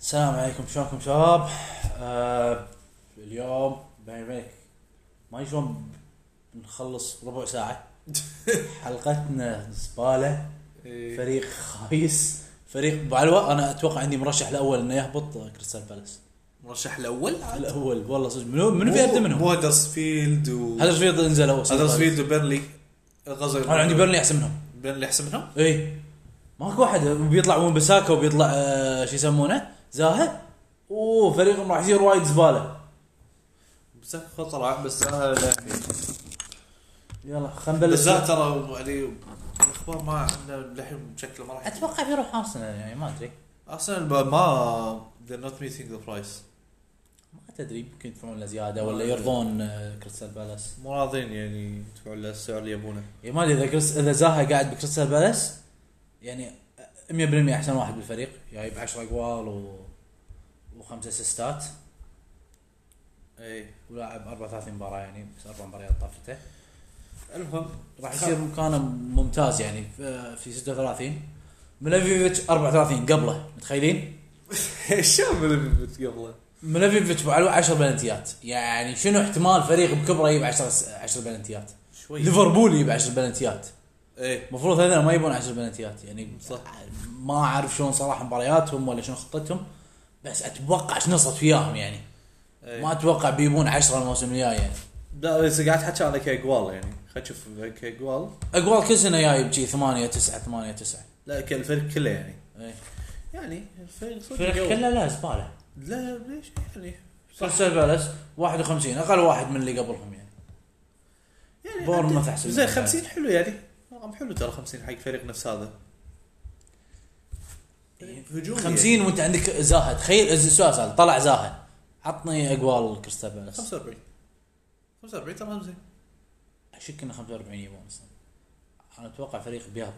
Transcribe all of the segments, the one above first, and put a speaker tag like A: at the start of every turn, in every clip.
A: السلام عليكم شلونكم شباب؟ آه اليوم بيني وبينك ما أدري شلون نخلص ربع ساعة حلقتنا زبالة
B: إيه.
A: فريق خايس فريق بعلوة انا اتوقع عندي مرشح الاول انه يهبط آه، كريستال بالاس
B: مرشح الاول
A: الاول والله صدق منو منو في اقدم منهم؟
B: مو هدرسفيلد و
A: هدرسفيلد انزل اول
B: هدرسفيلد وبيرلي الغزل
A: انا عندي بيرني احسن منهم
B: بيرلي احسن منهم؟
A: اي ماكو واحد بيطلع ون بساكا وبيطلع آه شو يسمونه زاها اوه فريقهم راح يصير وايد زباله
B: بس خطر بس انا لا. يعني.
A: يلا خلينا
B: بس
A: نبلش
B: لا ترى يعني الاخبار ما عندنا للحين شكله ما راح يجي.
A: اتوقع بيروح ارسنال يعني ما ادري
B: ارسنال ب- ما they're not meeting the price
A: ما تدري يمكن يدفعون له زياده ولا يرضون آه، كريستال بالاس
B: مو راضين يعني يدفعون له السعر اللي يبونه
A: يعني ما ادري اذا كريس اذا زاها قاعد بكريستال بالاس يعني 100% احسن واحد بالفريق جايب 10 اقوال و وخمسه اسيستات
B: اي
A: إيه، ولاعب 34 مباراه يعني بس اربع مباريات طافته
B: المهم
A: راح يصير مكانه ممتاز يعني في- في 36 ملفيفيتش 34 قبله متخيلين؟
B: شو من قبله
A: ملفيفيتش بعلو 10 بلنتيات يعني شنو احتمال فريق بكبره يجيب 10 10 بلنتيات؟
B: شوي
A: ليفربول يجيب 10 بلنتيات
B: اي
A: المفروض هذول ما يبون 10 بلنتيات يعني
B: صح.
A: ما اعرف شلون صراحه مبارياتهم ولا شنو خطتهم بس اتوقع شنو نصت فياهم يعني
B: طيب.
A: ما اتوقع بيبون 10 الموسم الجاي يعني
B: إيه. لا بس قاعد احكي انا كاقوال يعني خلينا نشوف كاقوال
A: اقوال كل سنه جايب شي 8 9 8 9
B: لا كالفريق كله يعني
A: اي
B: يعني الفريق صدق
A: فريق
B: قوي.
A: كله لا زباله
B: لا ليش يعني
A: كريستال بالاس 51 اقل واحد من اللي قبلهم يعني
B: يعني
A: بورنموث
B: عدل.
A: أحسن
B: زين
A: منهم
B: 50 حلو يعني رقم حلو ترى 50 حق فريق نفس هذا هجوم
A: 50 وانت عندك زاها تخيل إز- سؤال سؤال طلع زاها عطني اقوال كريستال بالاس
B: 45 45 ترى زين
A: اشك انه 45 يبون اصلا انا اتوقع فريق بيهبط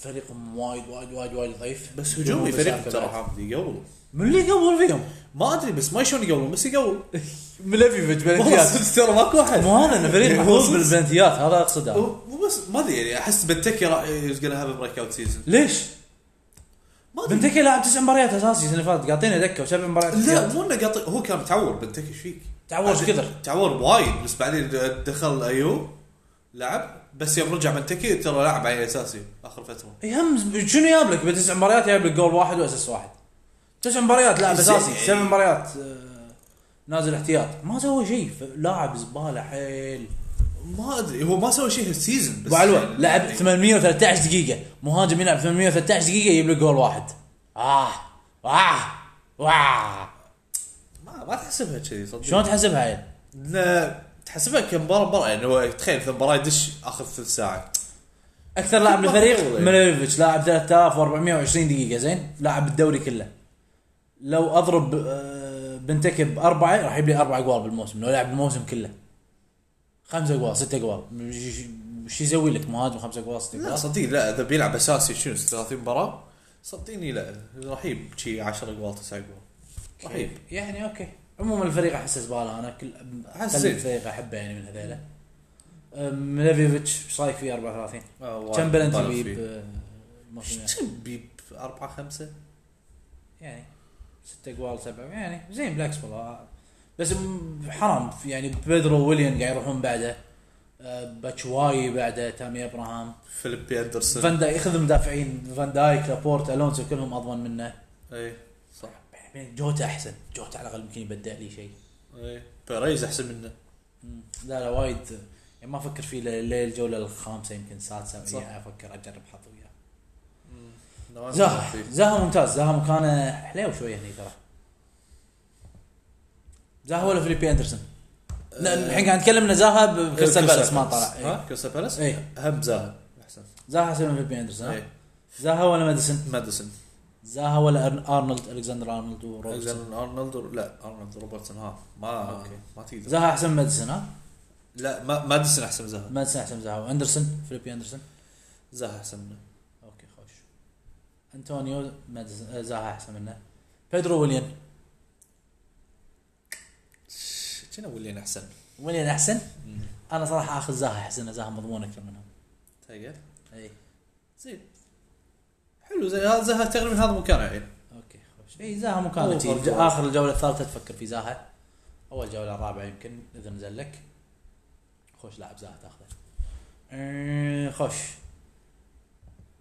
A: فريقهم وايد وايد وايد وايد ضعيف
B: بس هجومي فريق ترى
A: ترى
B: حامد يقول
A: من اللي قبل فيهم؟
B: ما ادري بس ما شلون يقولون بس يقول
A: ملفيفيتش
B: والله صدق ترى ماكو واحد
A: مو هذا انه فريق
B: إيه، هو
A: محظوظ
B: صدق.
A: بالبلنتيات هذا اقصد أنا.
B: هو- مو بس ما ادري يعني احس بنتكي از جونا هاف بريك اوت سيزون
A: ليش؟
B: ما ادري
A: بنتكي لاعب تسع مباريات اساسي السنه اللي فاتت قاطينا دكه وسبع مباريات
B: لا
A: احتياط.
B: مو انه قاطع هو كان متعور بنتكي ايش فيك؟
A: تعور كثر
B: تعور وايد بس بعدين دخل ايوب لعب بس يوم رجع منتكي ترى لاعب عليه اساسي اخر فتره
A: اي إيه، هم شنو جاب لك بتسع مباريات جاب لك جول واحد واساس واحد تسع مباريات لاعب
B: زين.
A: اساسي سبع مباريات آه، نازل احتياط ما سوى شيء ف- لاعب زباله حيل
B: ما ادري هو ما سوى شيء هالسيزون بس
A: ابو علوه
B: يعني-
A: لعب 813 دقيقه مهاجم يلعب 813 دقيقه يجيب لك جول واحد اه اه واه
B: ما, ما تحسبها كذي صدق
A: آه. شلون تحسبها هاي؟
B: لا تحسبها كمباراه مباراه يعني هو تخيل في مباراه يدش اخر ثلث ساعه
A: اكثر لاعب بالفريق
B: والله.
A: مليفيتش لاعب 3420 دقيقه زين لاعب الدوري كله لو اضرب آه، بنتكي باربعه راح يجيب لي اربع اقوال بالموسم لو لعب الموسم كله خمسة اقوال ست اقوال ش- ش- شو يسوي لك مهاجم خمسة اقوال ست
B: لا
A: اقوال
B: صدق لا اذا بيلعب اساسي شنو 30 مباراه صدقني لا راح يجيب شي 10 اقوال 9 اقوال راح يجيب
A: يعني اوكي عموما الفريق احس زباله انا كل
B: أحس
A: اقل
B: زين.
A: فريق احبه يعني من هذيلا آه، مليفيتش ايش رايك فيه 34
B: آه، وايد
A: كم بلنتي
B: طالع
A: بيب
B: فيه.
A: آه، الموسم يعني؟
B: كم بيب 4 5
A: يعني ست اقوال سبع يعني زين بالعكس والله بس م- حرام يعني بيدرو ويليان قاعد يروحون بعده آه، باتشواي بعده تامي ابراهام
B: فيليبي اندرسون
A: فان دايك خذ مدافعين فان دايك لابورت الونسو كلهم اضمن منه
B: اي صح
A: بعدين جوتا احسن جوتا على الاقل يمكن يبدع لي شيء
B: اي إيه. بيريز احسن منه
A: مم. لا لا وايد يعني ما افكر فيه لليل الجوله الخامسه يمكن السادسه
B: صح.
A: يعني افكر اجرب حظ وياه زاها زاها ممتاز زاها مكانه حليو شويه هني ترى زاها ولا فيليبي اندرسون؟
B: أه.
A: لا الحين قاعد نتكلم ان زاها بكريستال بالاس ما طلع إيه.
B: ها كريستال إيه. بالاس
A: اي
B: هم زاها احسن
A: زاها احسن من فيليبي اندرسون ها؟
B: إيه.
A: زاها ولا ماديسون؟
B: ماديسون
A: زاها ولا أرن- ارنولد الكسندر ارنولد وروبرتسون
B: الكسندر ارنولد لا ارنولد روبرتسون ها ما
A: أوكي.
B: ما تقدر
A: زاها احسن من ماديسون ها؟
B: لا ما ماديسون احسن من زاها
A: ماديسون احسن من زاها واندرسون فيليبي اندرسون
B: زاها احسن منه
A: اوكي خوش انطونيو ماديسون آه، زاها احسن منه بيدرو ويليان
B: شنو ولين احسن
A: ويليان احسن انا صراحه اخذ زاها احس ان زاها مضمون اكثر منهم
B: تقدر
A: اي إيه،
B: زين حلو زين هذا يعني. زاها تقريبا هذا مكانه الحين
A: اوكي اي زاها إيه، مو كانت
B: أوفر
A: هي.
B: كلاس.
A: اخر الجوله الثالثه تفكر في زاها اول جوله الرابعه يمكن اذا نزل لك خوش لاعب زاها تاخذه أه، خوش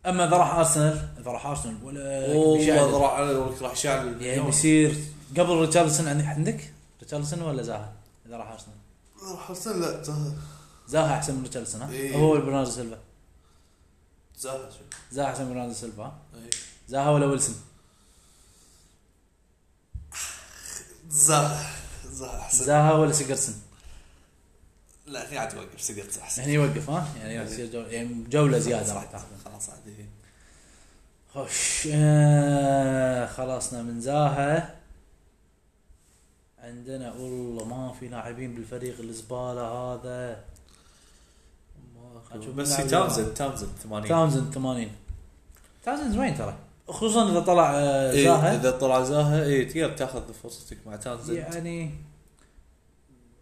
A: اما اذا راح ارسنال اذا راح ارسنال ولا
B: والله
A: بيشعل.
B: ذراع على الوقت راح يشعل
A: يعني بيصير قبل ريتشارلسون عندك عندك ريتشارلسون ولا زاها اذا راح ارسنال
B: راح ارسل لا زاها
A: زاها احسن من ريتشارلسون ها
B: إيه.
A: هو برناردو سيلفا
B: زاها شو
A: زاها احسن من برناردو سيلفا ها؟
B: إي.
A: زاها ولا ويلسون
B: زاها زاها احسن
A: زاها ولا سيجرسن
B: لا هي عاد وقف سقط احسن
A: هني يوقف ها يعني يصير جو- يعني جوله زياده راح تاخذ
B: خلاص عادي
A: خوش آه خلصنا من زاها عندنا والله ما في لاعبين بالفريق الزباله هذا أشوف
B: بس
A: لاعب
B: تامزن تامزن 80
A: تاونزن 80 تاونزن زوين ترى خصوصا اذا طلع آه
B: إيه،
A: زاها
B: اذا طلع زاها اي تقدر تاخذ فرصتك مع تامزن
A: يعني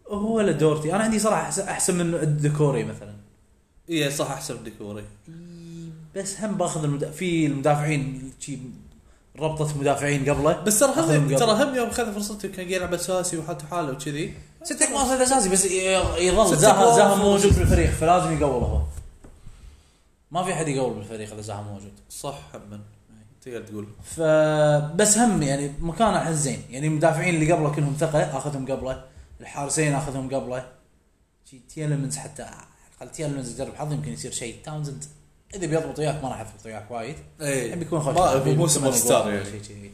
A: هو ولا دورتي انا عندي صراحه أحس- احسن من الدكوري مثلا
B: اي إيه، صح احسن ديكوري
A: بس هم باخذ المد... في المدافعين شي ربطه مدافعين قبله
B: بس ترى
A: أخذهم
B: هم
A: قبل.
B: ترى هم يوم خذ فرصته كان يلعب اساسي وحط حاله وكذي
A: ست اقوال هذا اساسي بس ي- يظل
B: ست
A: زاها
B: أقوال
A: زاها
B: في-
A: موجود بالفريق فلازم يقول هو ما في حد يقول بالفريق اذا زاها موجود
B: صح هم تقدر تقول
A: فبس هم يعني مكانه الحين زين يعني المدافعين اللي قبله كلهم ثقه اخذهم قبله الحارسين اخذهم قبله شي تيلمنز حتى على الاقل تيلمنز يجرب حظه يمكن يصير شيء تاونزند اذا بيضبط وياك ما راح يضبط وياك وايد
B: اي
A: بيكون إيه. خوش
B: إيه. ما-
A: يعني
B: مو سوبر
A: ثمانية
B: ستار
A: أجوال
B: يعني.
A: شي كذي.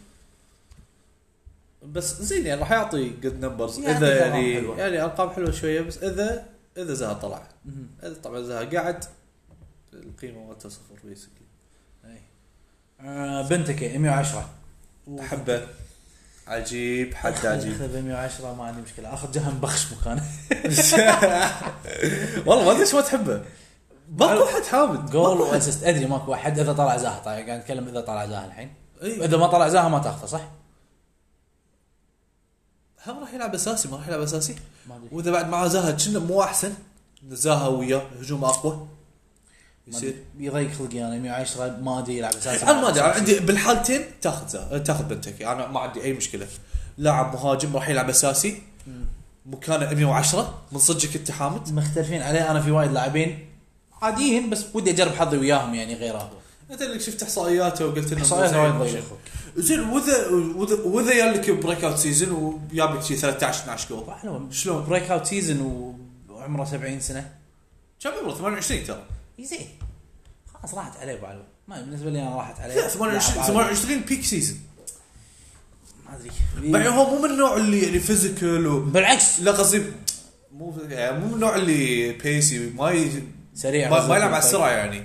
B: بس زين يعني راح يعطي جود نمبرز
A: يعطي
B: اذا
A: أرقام
B: يعني
A: حلوة.
B: يعني ارقام حلوه شويه بس اذا اذا زها طلع
A: مهم.
B: اذا طبعا زها قعد القيمه مالته صفر بيسكلي
A: إي. إيه. آه، بنتكي 110
B: حبه عجيب حد عجيب
A: اخذ 110 ما عندي مشكله اخذ جهم بخش مكانه
B: والله ما ادري ايش ما تحبه ماكو احد حامد
A: جول
B: ماكو أحد.
A: واسيست ادري ماكو احد اذا طلع زاها طبعا قاعد نتكلم اذا طلع زاها الحين
B: إي.
A: اذا ما طلع زاها ما تاخذه صح؟
B: هم راح يلعب اساسي ما راح يلعب اساسي
A: ما ادري
B: واذا بعد معاه زها كنا مو احسن زها وياه هجوم اقوى
A: ما
B: يصير
A: أدري. يضيق خلقي انا 110 ما ادري يلعب اساسي
B: انا ما ادري انا عندي بالحالتين تاخذ زها تاخذ بنتكي انا ما عندي اي مشكله لاعب مهاجم راح يلعب اساسي مكانه 110 من صدقك انت حامد
A: مختلفين عليه انا في وايد لاعبين عاديين بس ودي اجرب حظي وياهم يعني غيره هو
B: انت اللي شفت احصائياته وقلت انه
A: احصائياته وايد ضيق
B: زين واذا واذا واذا يالك بريك اوت سيزون ويابك شي 13 12 جول
A: حلو شلون بريك اوت سيزون وعمره 70 سنه
B: كم عمره 28 ترى
A: زين خلاص راحت عليه ابو علوي ما بالنسبه لي انا راحت عليه
B: لا 28
A: لاعب عادي.
B: 28 بيك سيزون
A: ما ادري
B: بعدين هو مو من النوع اللي يعني فيزيكال و...
A: بالعكس
B: لا قصدي مو يعني مو من النوع اللي بيسي ما ي...
A: يعني سريع
B: ما, ما يلعب على السرعه يعني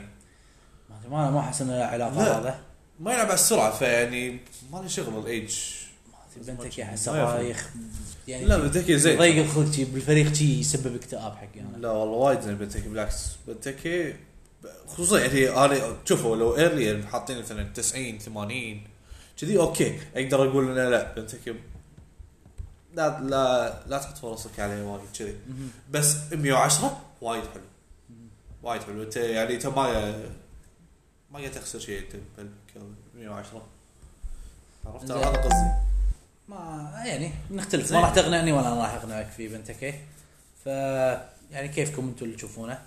A: ما أدري، ما ما احس انه له
B: لا.
A: علاقه هذا
B: ما يلعب على السرعه فيعني ما له شغل الايج
A: بنتك يا حسن
B: ما يفرق.
A: رايخ يعني
B: لا بنتكي زين
A: ضيق الخلق شي بالفريق شي يسبب اكتئاب حقي انا
B: لا والله وايد زين بنتكي بالعكس بنتكي خصوصا يعني انا شوفوا لو ايرلي حاطين مثلا 90 80 كذي اوكي اقدر اقول انه لا بنتكي لا لا لا تحط فرصك عليه وايد كذي
A: مهم.
B: بس 110 وايد حلو وايد حلو انت يعني انت ما ما قاعد تخسر شيء انت بال 110 عرفت
A: زين.
B: هذا قصدي
A: ما يعني نختلف ما
B: زين.
A: راح تقنعني ولا انا راح اقنعك في بنتكي ف يعني كيفكم انتم اللي تشوفونه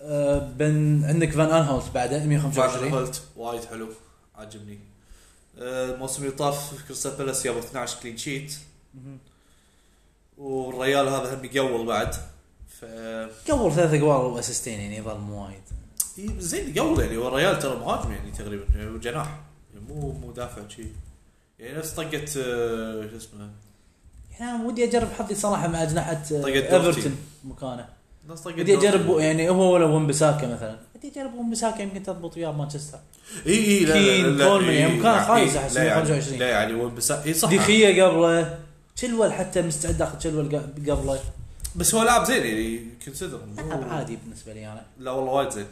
A: أه، بن عندك فان انهولت بعده 125
B: هولت وايد حلو عاجبني آه، الموسم اللي طاف كريستال بالاس جابوا 12 كلين شيت
A: مهم.
B: والريال هذا هم يقول بعد ف
A: قبل ثلاث اقوال واسيستين يعني يظل مو وايد
B: زين يقول يعني والريال ترى مهاجم يعني تقريبا يعني جناح يعني مو مدافع شيء يعني نفس طقه آه، شو اسمه
A: يعني انا ودي اجرب حظي صراحه مع اجنحه أه،
B: طقت دورتي.
A: ايفرتون مكانه
B: نفس طقه
A: ودي اجرب يعني هو ولا ون بساكا مثلا ودي اجرب ون بساكا يمكن تضبط وياه مانشستر
B: اي اي لا لا
A: كين،
B: لا لا،
A: كولمان،
B: إي،
A: يعني
B: لا،
A: مكان
B: إي،
A: خايس
B: لا
A: أحس،
B: يعني-
A: 25.
B: لا يعني وين بس اي صح
A: ديخية قبله تشلول حتى مستعد اخذ تشلول ق- قبله
B: بس هو لاعب زين يعني كونسيدر
A: لاعب طيب عادي بالنسبه لي انا
B: لا والله وايد زين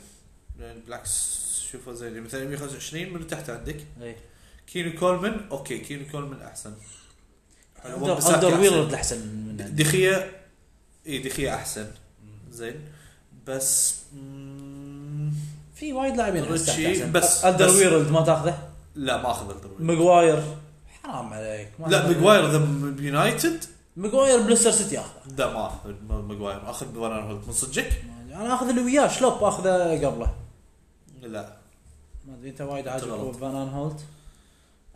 B: يعني بالعكس شوفه زين يعني مثلا 125 من تحت عندك
A: اي
B: كينو كولمن اوكي كينو كولمن احسن هو بساكي
A: اندر
B: أحسن.
A: ويلرد احسن من عندي.
B: دخية اي دخية احسن زين بس مم،
A: في وايد لاعبين أنا
B: ريتشي،
A: مستعد أحسن.
B: بس-
A: اندر
B: بس-
A: ويلرد ما تاخذه
B: لا ما اخذ الدوري
A: ماجواير حرام عليك ما
B: لا
A: أدري.
B: ماجواير اذا بيونايتد
A: ماجواير بلستر سيتي اخذه
B: لا ما اخذ ما- ماجواير اخذ فان هولت من صدقك؟
A: انا اخذ اللي وياه شلوب اخذه قبله
B: لا
A: ما ادري انت وايد
B: غلط.
A: عاجبك فان هولت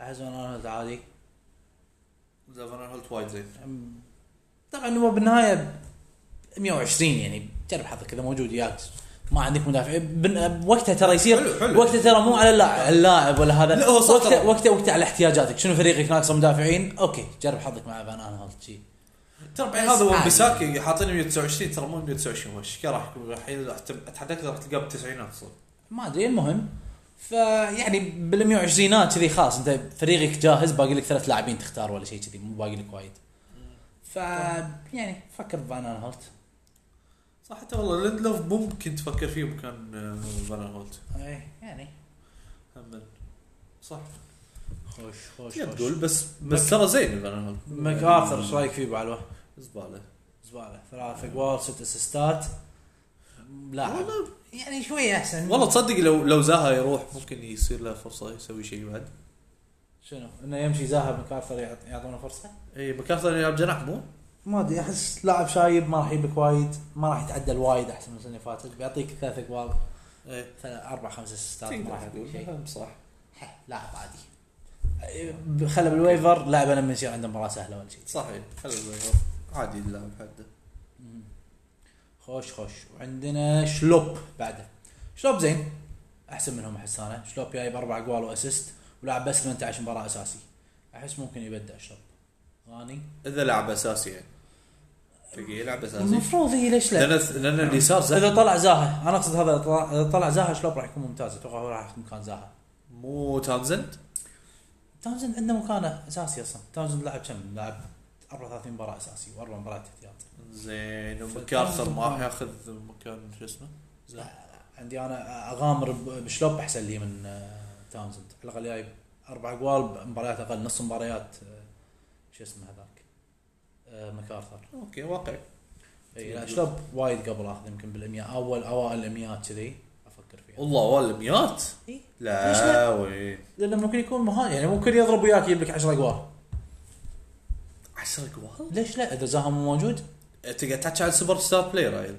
A: احس فان هولت عادي
B: لا فان هولت وايد زين
A: أم- طبعا هو بالنهايه 120 يعني جرب حظك اذا موجود وياك ما عندك مدافع بن- وقتها ترى يصير
B: حلو- حلو.
A: وقتها ترى مو على اللاعب, اللاعب ولا هذا
B: لا، هو صح
A: وقتها
B: ترى.
A: وقتها وقتها على احتياجاتك شنو فريقك ناقصه مدافعين اوكي جرب حظك مع فان هولت شي
B: ترى بعدين
A: بس
B: هذا هو
A: عادي.
B: بيساكي حاطينه 129 ترى مو 129 هو الشيكا راح يكون الحين راح تب- اتحداك راح تلقاه بالتسعينات صدق
A: ما ادري المهم فيعني بال 120 كذي خلاص انت فريقك جاهز باقي لك ثلاث لاعبين تختار ولا شيء كذي مو باقي لك وايد ف يعني فكر بفان هولت
B: صح حتى والله ليندلوف ممكن تفكر فيه مكان آه، فان هولت
A: إيه، يعني
B: هم صح
A: خوش خوش
B: تقدر
A: خوش
B: تقول بس بس ترى زين فان هولت
A: ماك ارثر ايش رايك فيه بعلوه؟
B: زباله
A: زباله ثلاث اجوال ست اسيستات لاعب
B: والله
A: يعني شوي احسن
B: والله تصدق لو لو زاها يروح ممكن يصير له فرصه يسوي شيء بعد
A: شنو انه يمشي زاها ماك ارثر يعط- يعطونه فرصه؟
B: اي مكافاه يلعب جناح مو؟
A: ما ادري احس لاعب شايب ما راح يجيبك وايد ما راح يتعدى الوايد احسن من السنه اللي فاتت بيعطيك ثلاث اجوال
B: ايه
A: ثلاث اربع خمس اسيستات ما راح
B: تقدر
A: يعطيك
B: تقول
A: شيء
B: هم صح
A: ح- لاعب عادي أه، خله بالويفر لاعبه لما يصير عنده مباراه سهله ولا شيء
B: صحيح حلو عادي اللاعب حده
A: خوش خوش وعندنا شلوب بعده شلوب زين احسن منهم احس انا شلوب جايب اربع جوال واسيست ولعب بس 18 مباراه اساسي احس ممكن يبدع شلوب غاني
B: اذا لعب اساسي يعني تلقى يلعب اساسي
A: المفروض هي ليش لا
B: لان لان اليسار زين
A: اذا طلع زاها انا اقصد هذا طلع- اذا طلع زاها شلوب راح يكون ممتاز اتوقع هو راح ياخذ مكان زاها
B: مو تانزنت
A: تاونزند عنده مكانه اساسي اصلا تاونزند لعب كم لعب 34 مباراه اساسي واربع مباريات احتياطي
B: زين ومكارثر ما راح ياخذ مكان شو اسمه
A: لا
B: زين
A: لا عندي انا اغامر ب- بشلوب احسن لي من آه، تاونزند على الاقل جايب اربع اجوال بمباريات اقل نص مباريات آه، شو اسمه هذاك آه، مكارثر
B: اوكي واقعي
A: اي لا شلوب وايد قبل اخذ يمكن بالامياء اول اوائل الاميات كذي افكر فيها
B: والله والله مئات
A: إي. إيه. ليش
B: لا
A: لا؟
B: وين
A: لانه ممكن يكون مهان يعني ممكن يضرب وياك يجيب لك 10 اجوال
B: 10 جوال
A: ليش لا اذا زاها مو موجود
B: تقعد تحكي على سوبر ستار بلاير عيل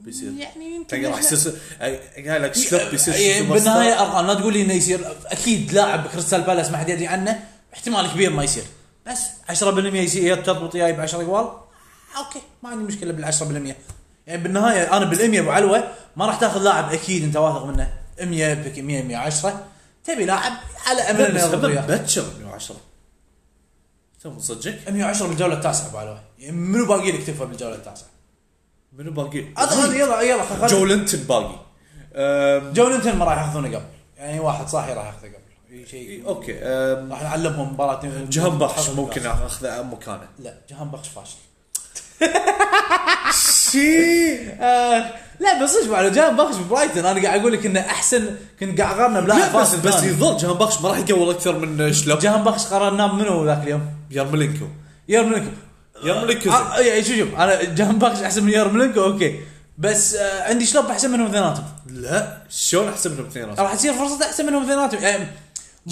B: بيصير
A: يعني يمكن
B: تلقى راح
A: ليش لا؟
B: يصير أي- قايل لك شلوب بيصير
A: يعني
B: سوبر ستار.
A: بالنهايه ارقام لا تقول لي انه يصير اكيد لاعب كريستال بالاس ما حد يدري عنه احتمال كبير ما يصير بس 10% يصير تضبط وياي ب 10 جوال اوكي ما عندي مشكله بال 10% يعني بالنهايه انا بال 100 ابو علوه ما راح تاخذ لاعب اكيد انت واثق منه 100 بك 100 110 تبي لاعب على امل
B: لا،
A: انه
B: بس
A: يضبط
B: هم
A: وياك
B: مبكر 110 تم صدقك
A: 110 بالجوله التاسعه ابو علوه يعني منو باقي لك تكفى بالجوله التاسعه؟
B: منو باقي؟
A: أظن يلا يلا خل- خل-
B: جو لينتون باقي أم،
A: جولتين ما راح ياخذونه قبل يعني واحد صاحي راح ياخذه قبل شيء إيه،
B: اوكي أم،
A: راح نعلمهم مباراه
B: جهان بخش ممكن اخذ مكانه
A: لا جهان بخش فاشل
B: شي
A: آه لا بس صدق على جهان بخش ببرايتن انا قاعد اقول لك انه احسن كنت قاعد اقارنه بلاعب
B: لا بس
A: فاشل
B: بس
A: ثاني.
B: يظل جهان بخش ما راح يقول اكثر من شلب
A: جهان بخش قررناه منو ذاك اليوم؟
B: يرملينكو
A: يرملينكو
B: يرملينكو زين.
A: آه يعني شوف شوف انا جهان بخش احسن من يرملينكو اوكي بس آه عندي شلوب احسن منهم اثنيناتهم
B: لا شلون احسب منهم اثنين راس
A: راح تصير فرصة احسن منهم اثنيناتهم يعني مو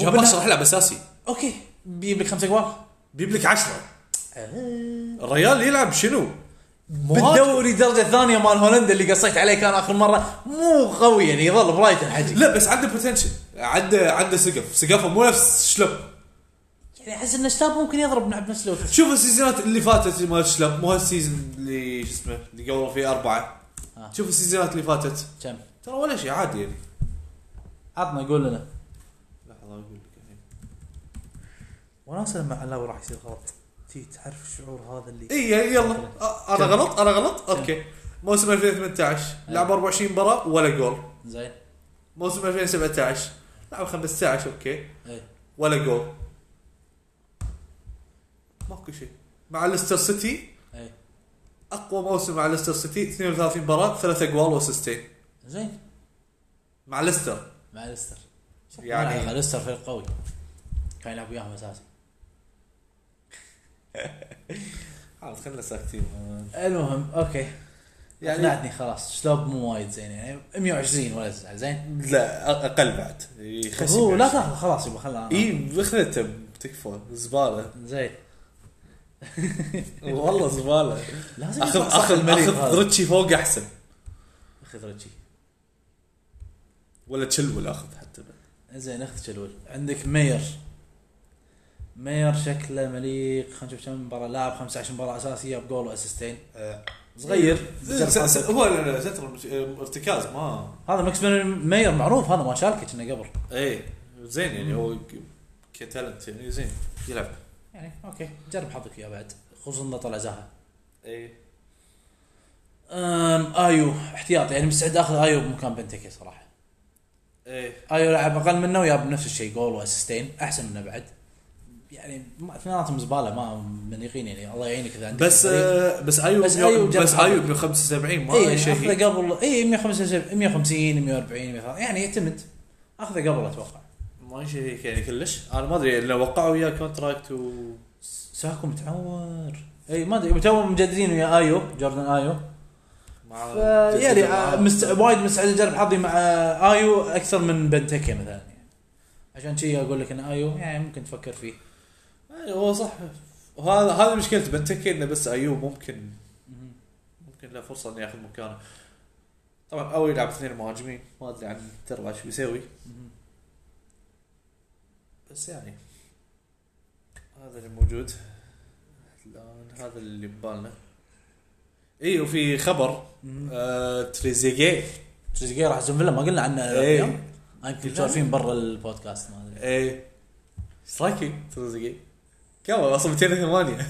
B: جهان
A: بنا-
B: بخش راح يلعب اساسي
A: اوكي بيجيب لك خمسة اجوال
B: بيجيب لك 10 الريال يلعب شنو؟
A: بالدوري الدرجة الثانية مال هولندا اللي قصيت عليه كان اخر مرة مو قوي يعني يظل برايتن حجي
B: لا بس عنده بوتنشل عنده عنده سقف سقفه مو نفس شلب
A: يعني احس ان شتاب ممكن يضرب بنفس الوقت
B: شوف السيزونات اللي فاتت اللي مال شلب مو هالسيزون اللي شو اسمه اللي قبل فيه اربعه
A: آه.
B: شوف السيزونات اللي فاتت
A: كم
B: ترى ولا شيء عادي يعني
A: عطنا قول لنا
B: لحظه اقول لك الحين
A: وناسه لما علاوي راح يصير غلط تي تعرف الشعور هذا اللي
B: اي يلا أ- انا
A: كم؟ آه.
B: غلط انا غلط اوكي موسم 2018 لعب 24 مباراه ولا جول
A: زين
B: موسم 2017 لعب 15 اوكي
A: ايه
B: ولا جول ماكو شيء مع ليستر سيتي
A: ايه
B: اقوى موسم مع ليستر سيتي 32 مباراه ثلاث اجوال واسيستين
A: زين
B: مع ليستر
A: مع ليستر
B: يعني-
A: مع ليستر فريق قوي كان يلعب وياهم اساسي
B: خلاص خلينا ساكتين
A: المهم اوكي
B: يعني-
A: يعني اقنعتني خلاص شلوب مو وايد زين يعني 120 ولا تزعل زين
B: لا أ- اقل بعد يخسر
A: هو لا تاخذ خلاص يبا خلنا
B: اي خذته ب تكفى زباله
A: إيه. زين
B: والله زباله
A: لازم
B: اخذ
A: يطلع صح
B: اخذ
A: المليك
B: اخذ
A: هذا.
B: ريتشي فوق احسن
A: اخذ رجي
B: ولا تشلول اخذ حتى بعد.
A: زين اخذ شلول عندك مير مير شكله مليق خلينا نشوف كم مباراه لاعب 15 مباراه اساسيه بجول واسيستين
B: آه،
A: صغير
B: س- س- هو لا- لا، ستر مش- آه، ارتكاز ما
A: هذا ماكس مير معروف هذا ما شاركه كنا قبل
B: اي زين يعني هو ك- كتالنت يعني زين يلعب
A: يعني اوكي جرب حظك اياه بعد خصوصا انه طلع زاها إيه.
B: اي
A: أم، ايو احتياط يعني مستعد اخذ ايو بمكان بنتكي صراحه
B: اي
A: ايو لعب اقل منه وياب نفس الشيء جول واسيستين احسن منه بعد يعني ما- اثنيناتهم زباله ما منيقين يعني الله يعينك اذا عندك
B: بس آه، بس ايوب
A: بس أيوب جاب
B: بس
A: حظ.
B: ايوب 175 ما
A: اي
B: شيء
A: اخذه إيه، قبل إيه، اي 150 150 140 130 يعني يعتمد اخذه قبل اتوقع
B: ما شيء يعني كلش انا ما ادري لو وقعوا وياه كونتراكت و
A: ساكو متعور اي ما ادري تو مجددين ويا ايو جوردن ايو
B: مع
A: ف- يعني
B: جدد معاه.
A: آه، مست... وايد مستعد اجرب حظي مع آه، ايو اكثر من بنتكي مثلا يعني. عشان كذي اقول لك ان ايو يعني ممكن تفكر فيه
B: يعني هو صح وهذا هذا مشكلته بنتكي انه بس ايوب ممكن ممكن له فرصه انه ياخذ مكانه طبعا او يلعب اثنين مهاجمين ما ادري عن تربع شو بيسوي بس يعني هذا اللي موجود الان هذا اللي ببالنا اي وفي خبر آه تريزيجيه
A: تريزيجيه راح استون فيلا ما قلنا عنه
B: إيه.
A: اليوم أنا يمكن شايفين برا البودكاست ما ادري
B: اي ايش إيه. رايك تريزيجيه؟ كم اصلا 208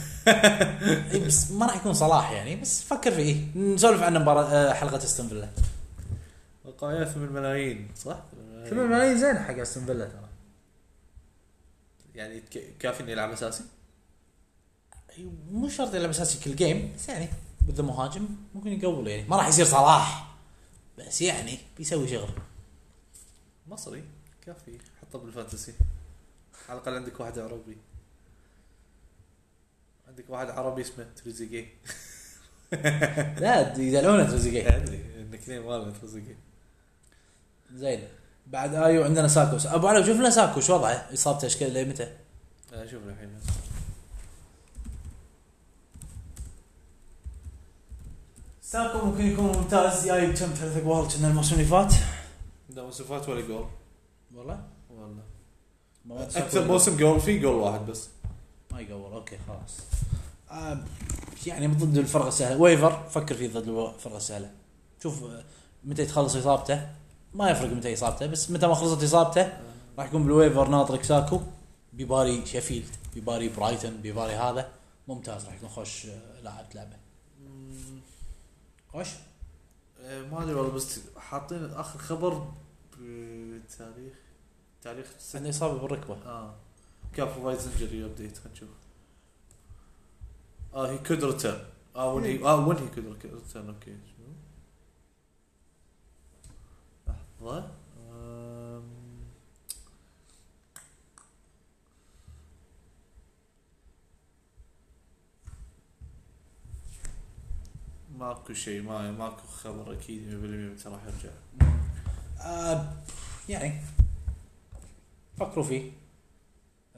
A: إيه، بس ما راح يكون صلاح يعني بس فكر فيه نسولف عنه مباراه آه، حلقه استون فيلا
B: وقاية 8 ملايين صح؟
A: 8 ملايين زين حق استون فيلا ترى
B: يعني ك- كافي انه يلعب اساسي؟
A: أيوة، مو شرط يلعب اساسي كل جيم بس يعني بده مهاجم ممكن يقول يعني ما راح يصير صلاح بس يعني بيسوي شغل
B: مصري كافي حطه بالفانتسي على الاقل عندك واحد عربي عندك واحد عربي اسمه تريزيجيه
A: لا يدلعونه تريزيجيه
B: ادري انك ليه ماله تريزيجيه
A: زين بعد ايو عندنا ساكو ابو علي شوف لنا ساكو شو وضعه اصابته ايش كذا متى؟
B: أنا اشوف آه، الحين
A: ساكو ممكن يكون ممتاز جايب كم ثلاث اقوال كنا الموسم اللي فات
B: لا وصفات ولا جول
A: والله
B: والله
A: ما ساكو
B: اكثر
A: يقول.
B: موسم جول فيه جول واحد بس
A: ما يقول اوكي خلاص آه يعني ضد الفرقه السهله ويفر فكر فيه ضد الفرقه السهله شوف آه، متى تخلص اصابته ما يفرق متى اصابته بس متى ما خلصت اصابته راح يكون بالويفر ناطرك ساكو بيباري شيفيلد بيباري برايتون بيباري هذا ممتاز راح يكون خوش آه، لاعب تلعبه
B: أمم،
A: خوش
B: آه، ما ادري والله بس حاطين اخر خبر بتاريخ تاريخ السنة.
A: عنده اصابه بالركبه
B: اه كان فايز انجري ابديت خلينا نشوف اه هي كود ريتيرن اه وين هي اه وين هي كود ريتيرن اوكي شنو لحظه آم. ماكو شيء ما ماكو خبر اكيد 100% متى راح يرجع
A: آه يعني فكروا فيه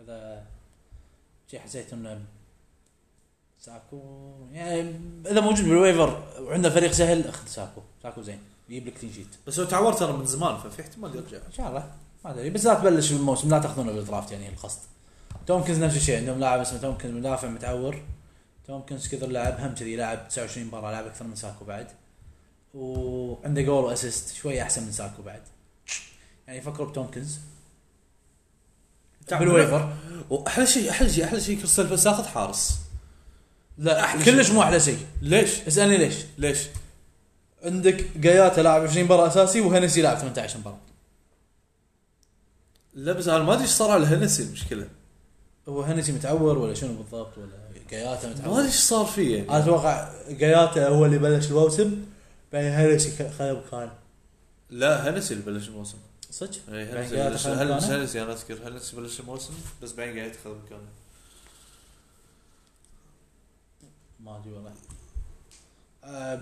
A: اذا شيء حسيت انه ساكو يعني اذا موجود بالويفر وعندنا فريق سهل اخذ ساكو ساكو زين يجيب لك كلين شيت
B: بس هو تعور ترى من زمان ففي احتمال يرجع
A: ان شاء الله ما ادري بس لا تبلش الموسم لا تاخذونه بالدرافت يعني القصد تومكنز نفس الشيء عندهم لاعب اسمه تومكنز مدافع متعور تومكنز كثر لعب هم كذي لعب 29 مباراه لعب اكثر من ساكو بعد وعنده جول واسيست شوي احسن من ساكو بعد يعني يفكروا بتومكنز بالويفر
B: واحلى شيء احلى شيء احلى شيء كريستال بس اخذ حارس
A: لا
B: أحلى
A: كلش
B: شيء.
A: مو احلى شيء
B: ليش؟
A: اسالني ليش
B: ليش؟
A: عندك جاياتا لاعب 20 مباراه اساسي وهنسي لاعب 18 مباراه
B: لا بس انا ما ادري ايش صار على إيه هنسي المشكله
A: هو هنسي متعور ولا شنو بالضبط ولا جاياتا
B: ما ادري
A: متعور
B: ايش صار فيه يعني.
A: انا اتوقع جاياتا هو اللي بلش الموسم بعدين هنسي خ- خذ مكانه
B: لا هنسي اللي بلش الموسم يعني
A: صدق؟
B: اي
A: بعدين
B: هنسي
A: جاياتا
B: بلش-
A: خذ
B: هنسي
A: مكانه؟
B: هنسي انا اذكر هنسي بلش الموسم بس بعدين قاعد يتخذ مكانه
A: ما ادري والله أه،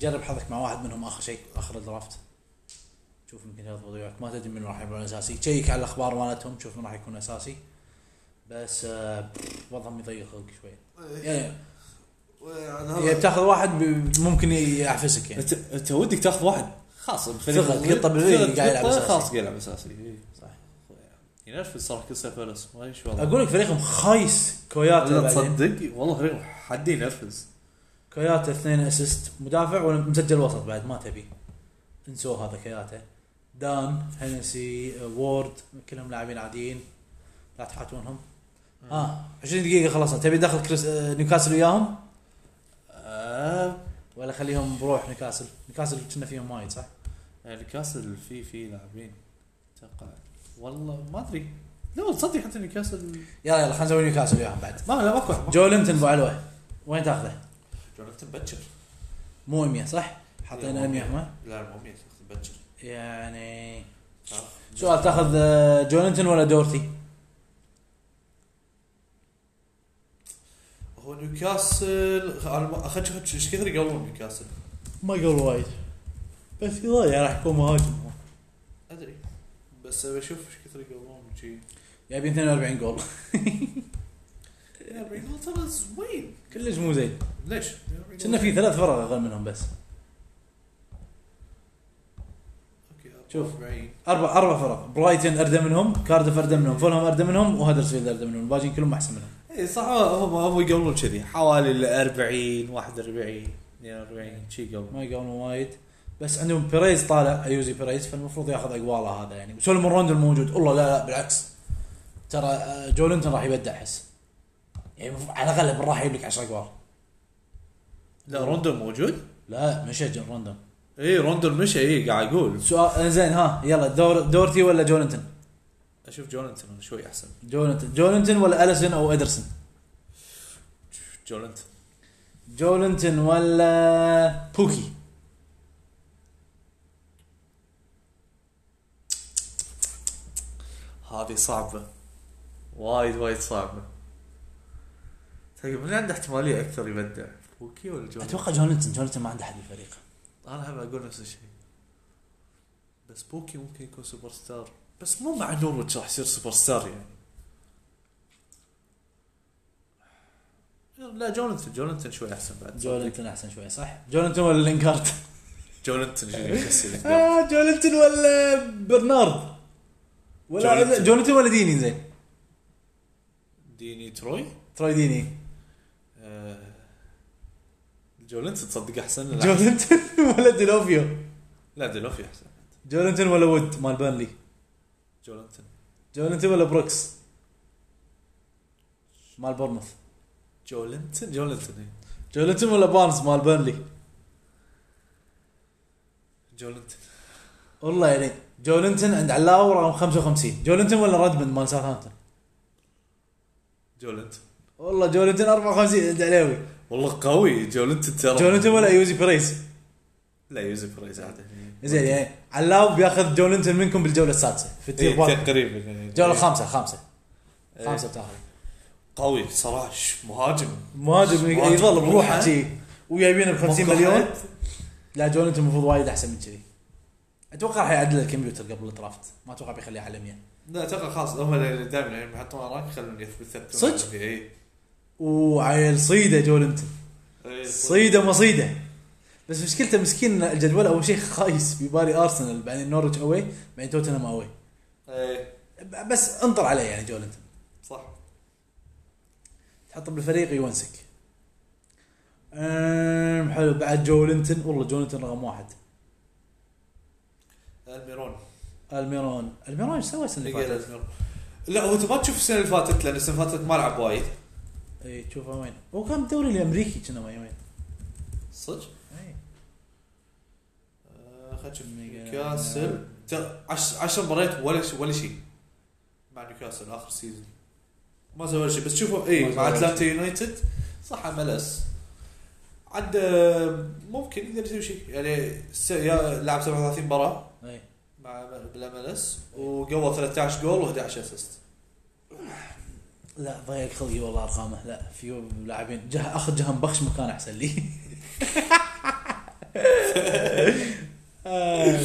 A: جرب حظك مع واحد منهم اخر شيء اخر الدرافت شوف يمكن يضبط وياك ما تدري من راح يكون اساسي شيك على الاخبار مالتهم شوف من راح يكون اساسي بس آه، بف، وضعهم يضيق خلقك شوي
B: إيه.
A: يعني
B: وعن
A: يعني
B: هذا-
A: بتاخذ واحد ب- ممكن يعفسك يعني
B: انت انت ودك تاخذ واحد خاص
A: ثقة، قطة بالذي
B: ثقة،
A: قاعد يلعب
B: قطة
A: أساسي.
B: خاص قاعد يلعب اساسي إيه. يعني
A: صح.
B: ينرفز صراحه كل سنه فلس ما ادري شو وضعه.
A: اقول لك فريقهم خايس كوياتا
B: لا
A: بعدين.
B: تصدق والله فريق حد ينرفز
A: كوياتا اثنين اسيست مدافع ولا مسجل وسط بعد ما تبي انسوه هذا كوياتا دان هنسي آه، وورد كلهم لاعبين عاديين لا تحاتونهم ها 20 دقيقة خلصنا تبي دخل كريس آه، نيوكاسل وياهم
B: آه،
A: ولا خليهم بروح نيوكاسل نيوكاسل كنا فيهم وايد صح؟
B: يعني نيوكاسل في في لاعبين اتوقع والله ما ادري لا تصدق حتى نيوكاسل
A: يلا يلا خلينا نسوي نيوكاسل وياهم بعد
B: ما لا ماكو واحد.
A: جو ليمتون ابو علوه وين تاخذه؟
B: جوناثان باتشر
A: مو 100 صح؟ حطينا 100 ما
B: لا مو 100 تاخذ باتشر
A: يعني
B: تعرف؟
A: سؤال تاخذ آه، جونتن ولا دورتي؟
B: هو نيوكاسل انا ما- خدش خدش ايش كثر يقولون نيوكاسل
A: ما قبل وايد بس يضيع راح يكون مهاجم هو
B: ادري بس بشوف ايش كثر يقولون شي
A: جايبين 42 جول
B: يا بريغول ترى زوين
A: كلش مو زين
B: ليش؟
A: كنا في ثلاث فرق اقل منهم بس شوف.
B: شوف
A: اربع اربع فرق برايتن اردى منهم كاردف اردى منهم فولهام اردى منهم وهدرسفيلد اردى منهم الباجين كلهم احسن منهم
B: اي إيه، صح هم هم يقولون كذي حوالي ال 40 41 42 شي قبل
A: ما يقاومون وايد بس عندهم بيريز طالع ايوزي بيريز فالمفروض ياخذ اقواله هذا يعني وسولمون روندو الموجود والله لا لا بالعكس ترى آه، جولينتون راح يبدع احس يعني المفروض- على الاقل من راح يجيب لك 10 اقوال
B: لا روندو موجود؟
A: لا مشى جون روندون
B: اي روندو إيه، مشى اي قاعد اقول
A: سؤال آه، زين ها يلا دور دورتي ولا جولينتون؟
B: اشوف جوناثان شوي احسن
A: جولينتون جولينتون ولا اليسون او ادرسون؟
B: جوناثان
A: جولينتون ولا بوكي
B: هذه صعبة وايد وايد صعبة طيب من عنده احتمالية أكثر يبدع؟ بوكي ولا جون؟
A: اتوقع جولينتون جولينتون ما عنده احد بالفريق
B: أنا هم أقول نفس الشيء بس بوكي ممكن يكون سوبر ستار بس مو مع نورويتش راح يصير سوبر ستار يعني لا جوناثان جوناثان شوي أحسن بعد
A: جولينتون احسن شوي صح؟ جولينتون ولا لينكارد؟
B: جوناثان شوي يكسر.
A: آه جولينتون ولا برنارد ولا
B: جولينتون.
A: جولينتون ولا ديني زين
B: ديني تروي
A: تراي ديني
B: آه، جولنتن تصدق احسن لا,
A: جولينتون ولا ديلوفيو
B: لا ديلوفي احسن
A: جولينتون ولا وود مال بيرنلي
B: جولنتن
A: جولينتون ولا بروكس مال بورموث
B: جولنتن جولنتن إيه.
A: جولينتون ولا بارنز مال بيرنلي
B: جولنتن
A: والله يعني جولينتون عند علاوه رقم 55 جولينتون ولا رادمن مال ساوثهامبتون
B: جولنتن
A: والله جولينتون 54 عند علاوي
B: والله قوي جولنتن ترى
A: جولينتون ولا يوزي بريس
B: لا يوسف ريز عاده
A: زين يعني علاوه بياخذ جولينتون منكم بالجوله السادسه في
B: إيه،
A: التير 1
B: تقريبا يعني.
A: الجوله
B: إيه.
A: الخامسه الخامسه خمسه بتاخذ
B: قوي صراحه ش- مهاجم
A: مهاجم
B: مهاجم
A: يظل بروحه إيه.
B: بروحه.
A: شي وجايبينه ب 50
B: مقهد.
A: مليون لا جونتون المفروض وايد احسن من كذي اتوقع راح يعدل الكمبيوتر قبل الدرافت ما اتوقع بيخليه على 100
B: لا اتوقع خلاص هم اللي دائما يعني يحطون اراك يخلون يثبتون إيه،
A: صدق؟
B: اي
A: وعيل صيده جولنتون
B: إيه،
A: صيده مصيده بس مشكلته مسكين إن الجدول اول شيء خايس بباري ارسنال بعدين نورتش اوي بعدين توتنهام اوي
B: اي
A: ب- بس انطر عليه يعني جولنتون
B: إيه، صح
A: تحطه بالفريق يونسك أمم، حلو بعد جولنتون والله جولنتون رقم واحد
B: الميرون
A: الميرون الميرون ايش سوى السنه اللي
B: نقل
A: فاتت؟
B: الميرون لا هو انت ما تشوف السنه اللي فاتت لان السنه اللي فاتت ما لعب وايد
A: اي تشوفه وين؟ هو كان بالدوري الامريكي كنا ما يومين
B: صدق؟
A: إي.
B: آه، خلنا نشوف نيوكاسل 10 مباريات ولا شيء ولا شيء مع نيوكاسل اخر سيزون ما سوى ولا شيء بس شوفوا
A: ما
B: اي
A: سوى
B: مع
A: ولا
B: اتلانتا يونايتد صح ملس عد آه، ممكن يقدر يسوي شيء يعني س- يا- لعب 37 مباراه
A: اي
B: مع بالاملس وقوى 13 جول و11 اسيست
A: لا ضيق خلقي والله ارقامه لا في لاعبين جه اخذ جهم بخش مكان احسن لي آه.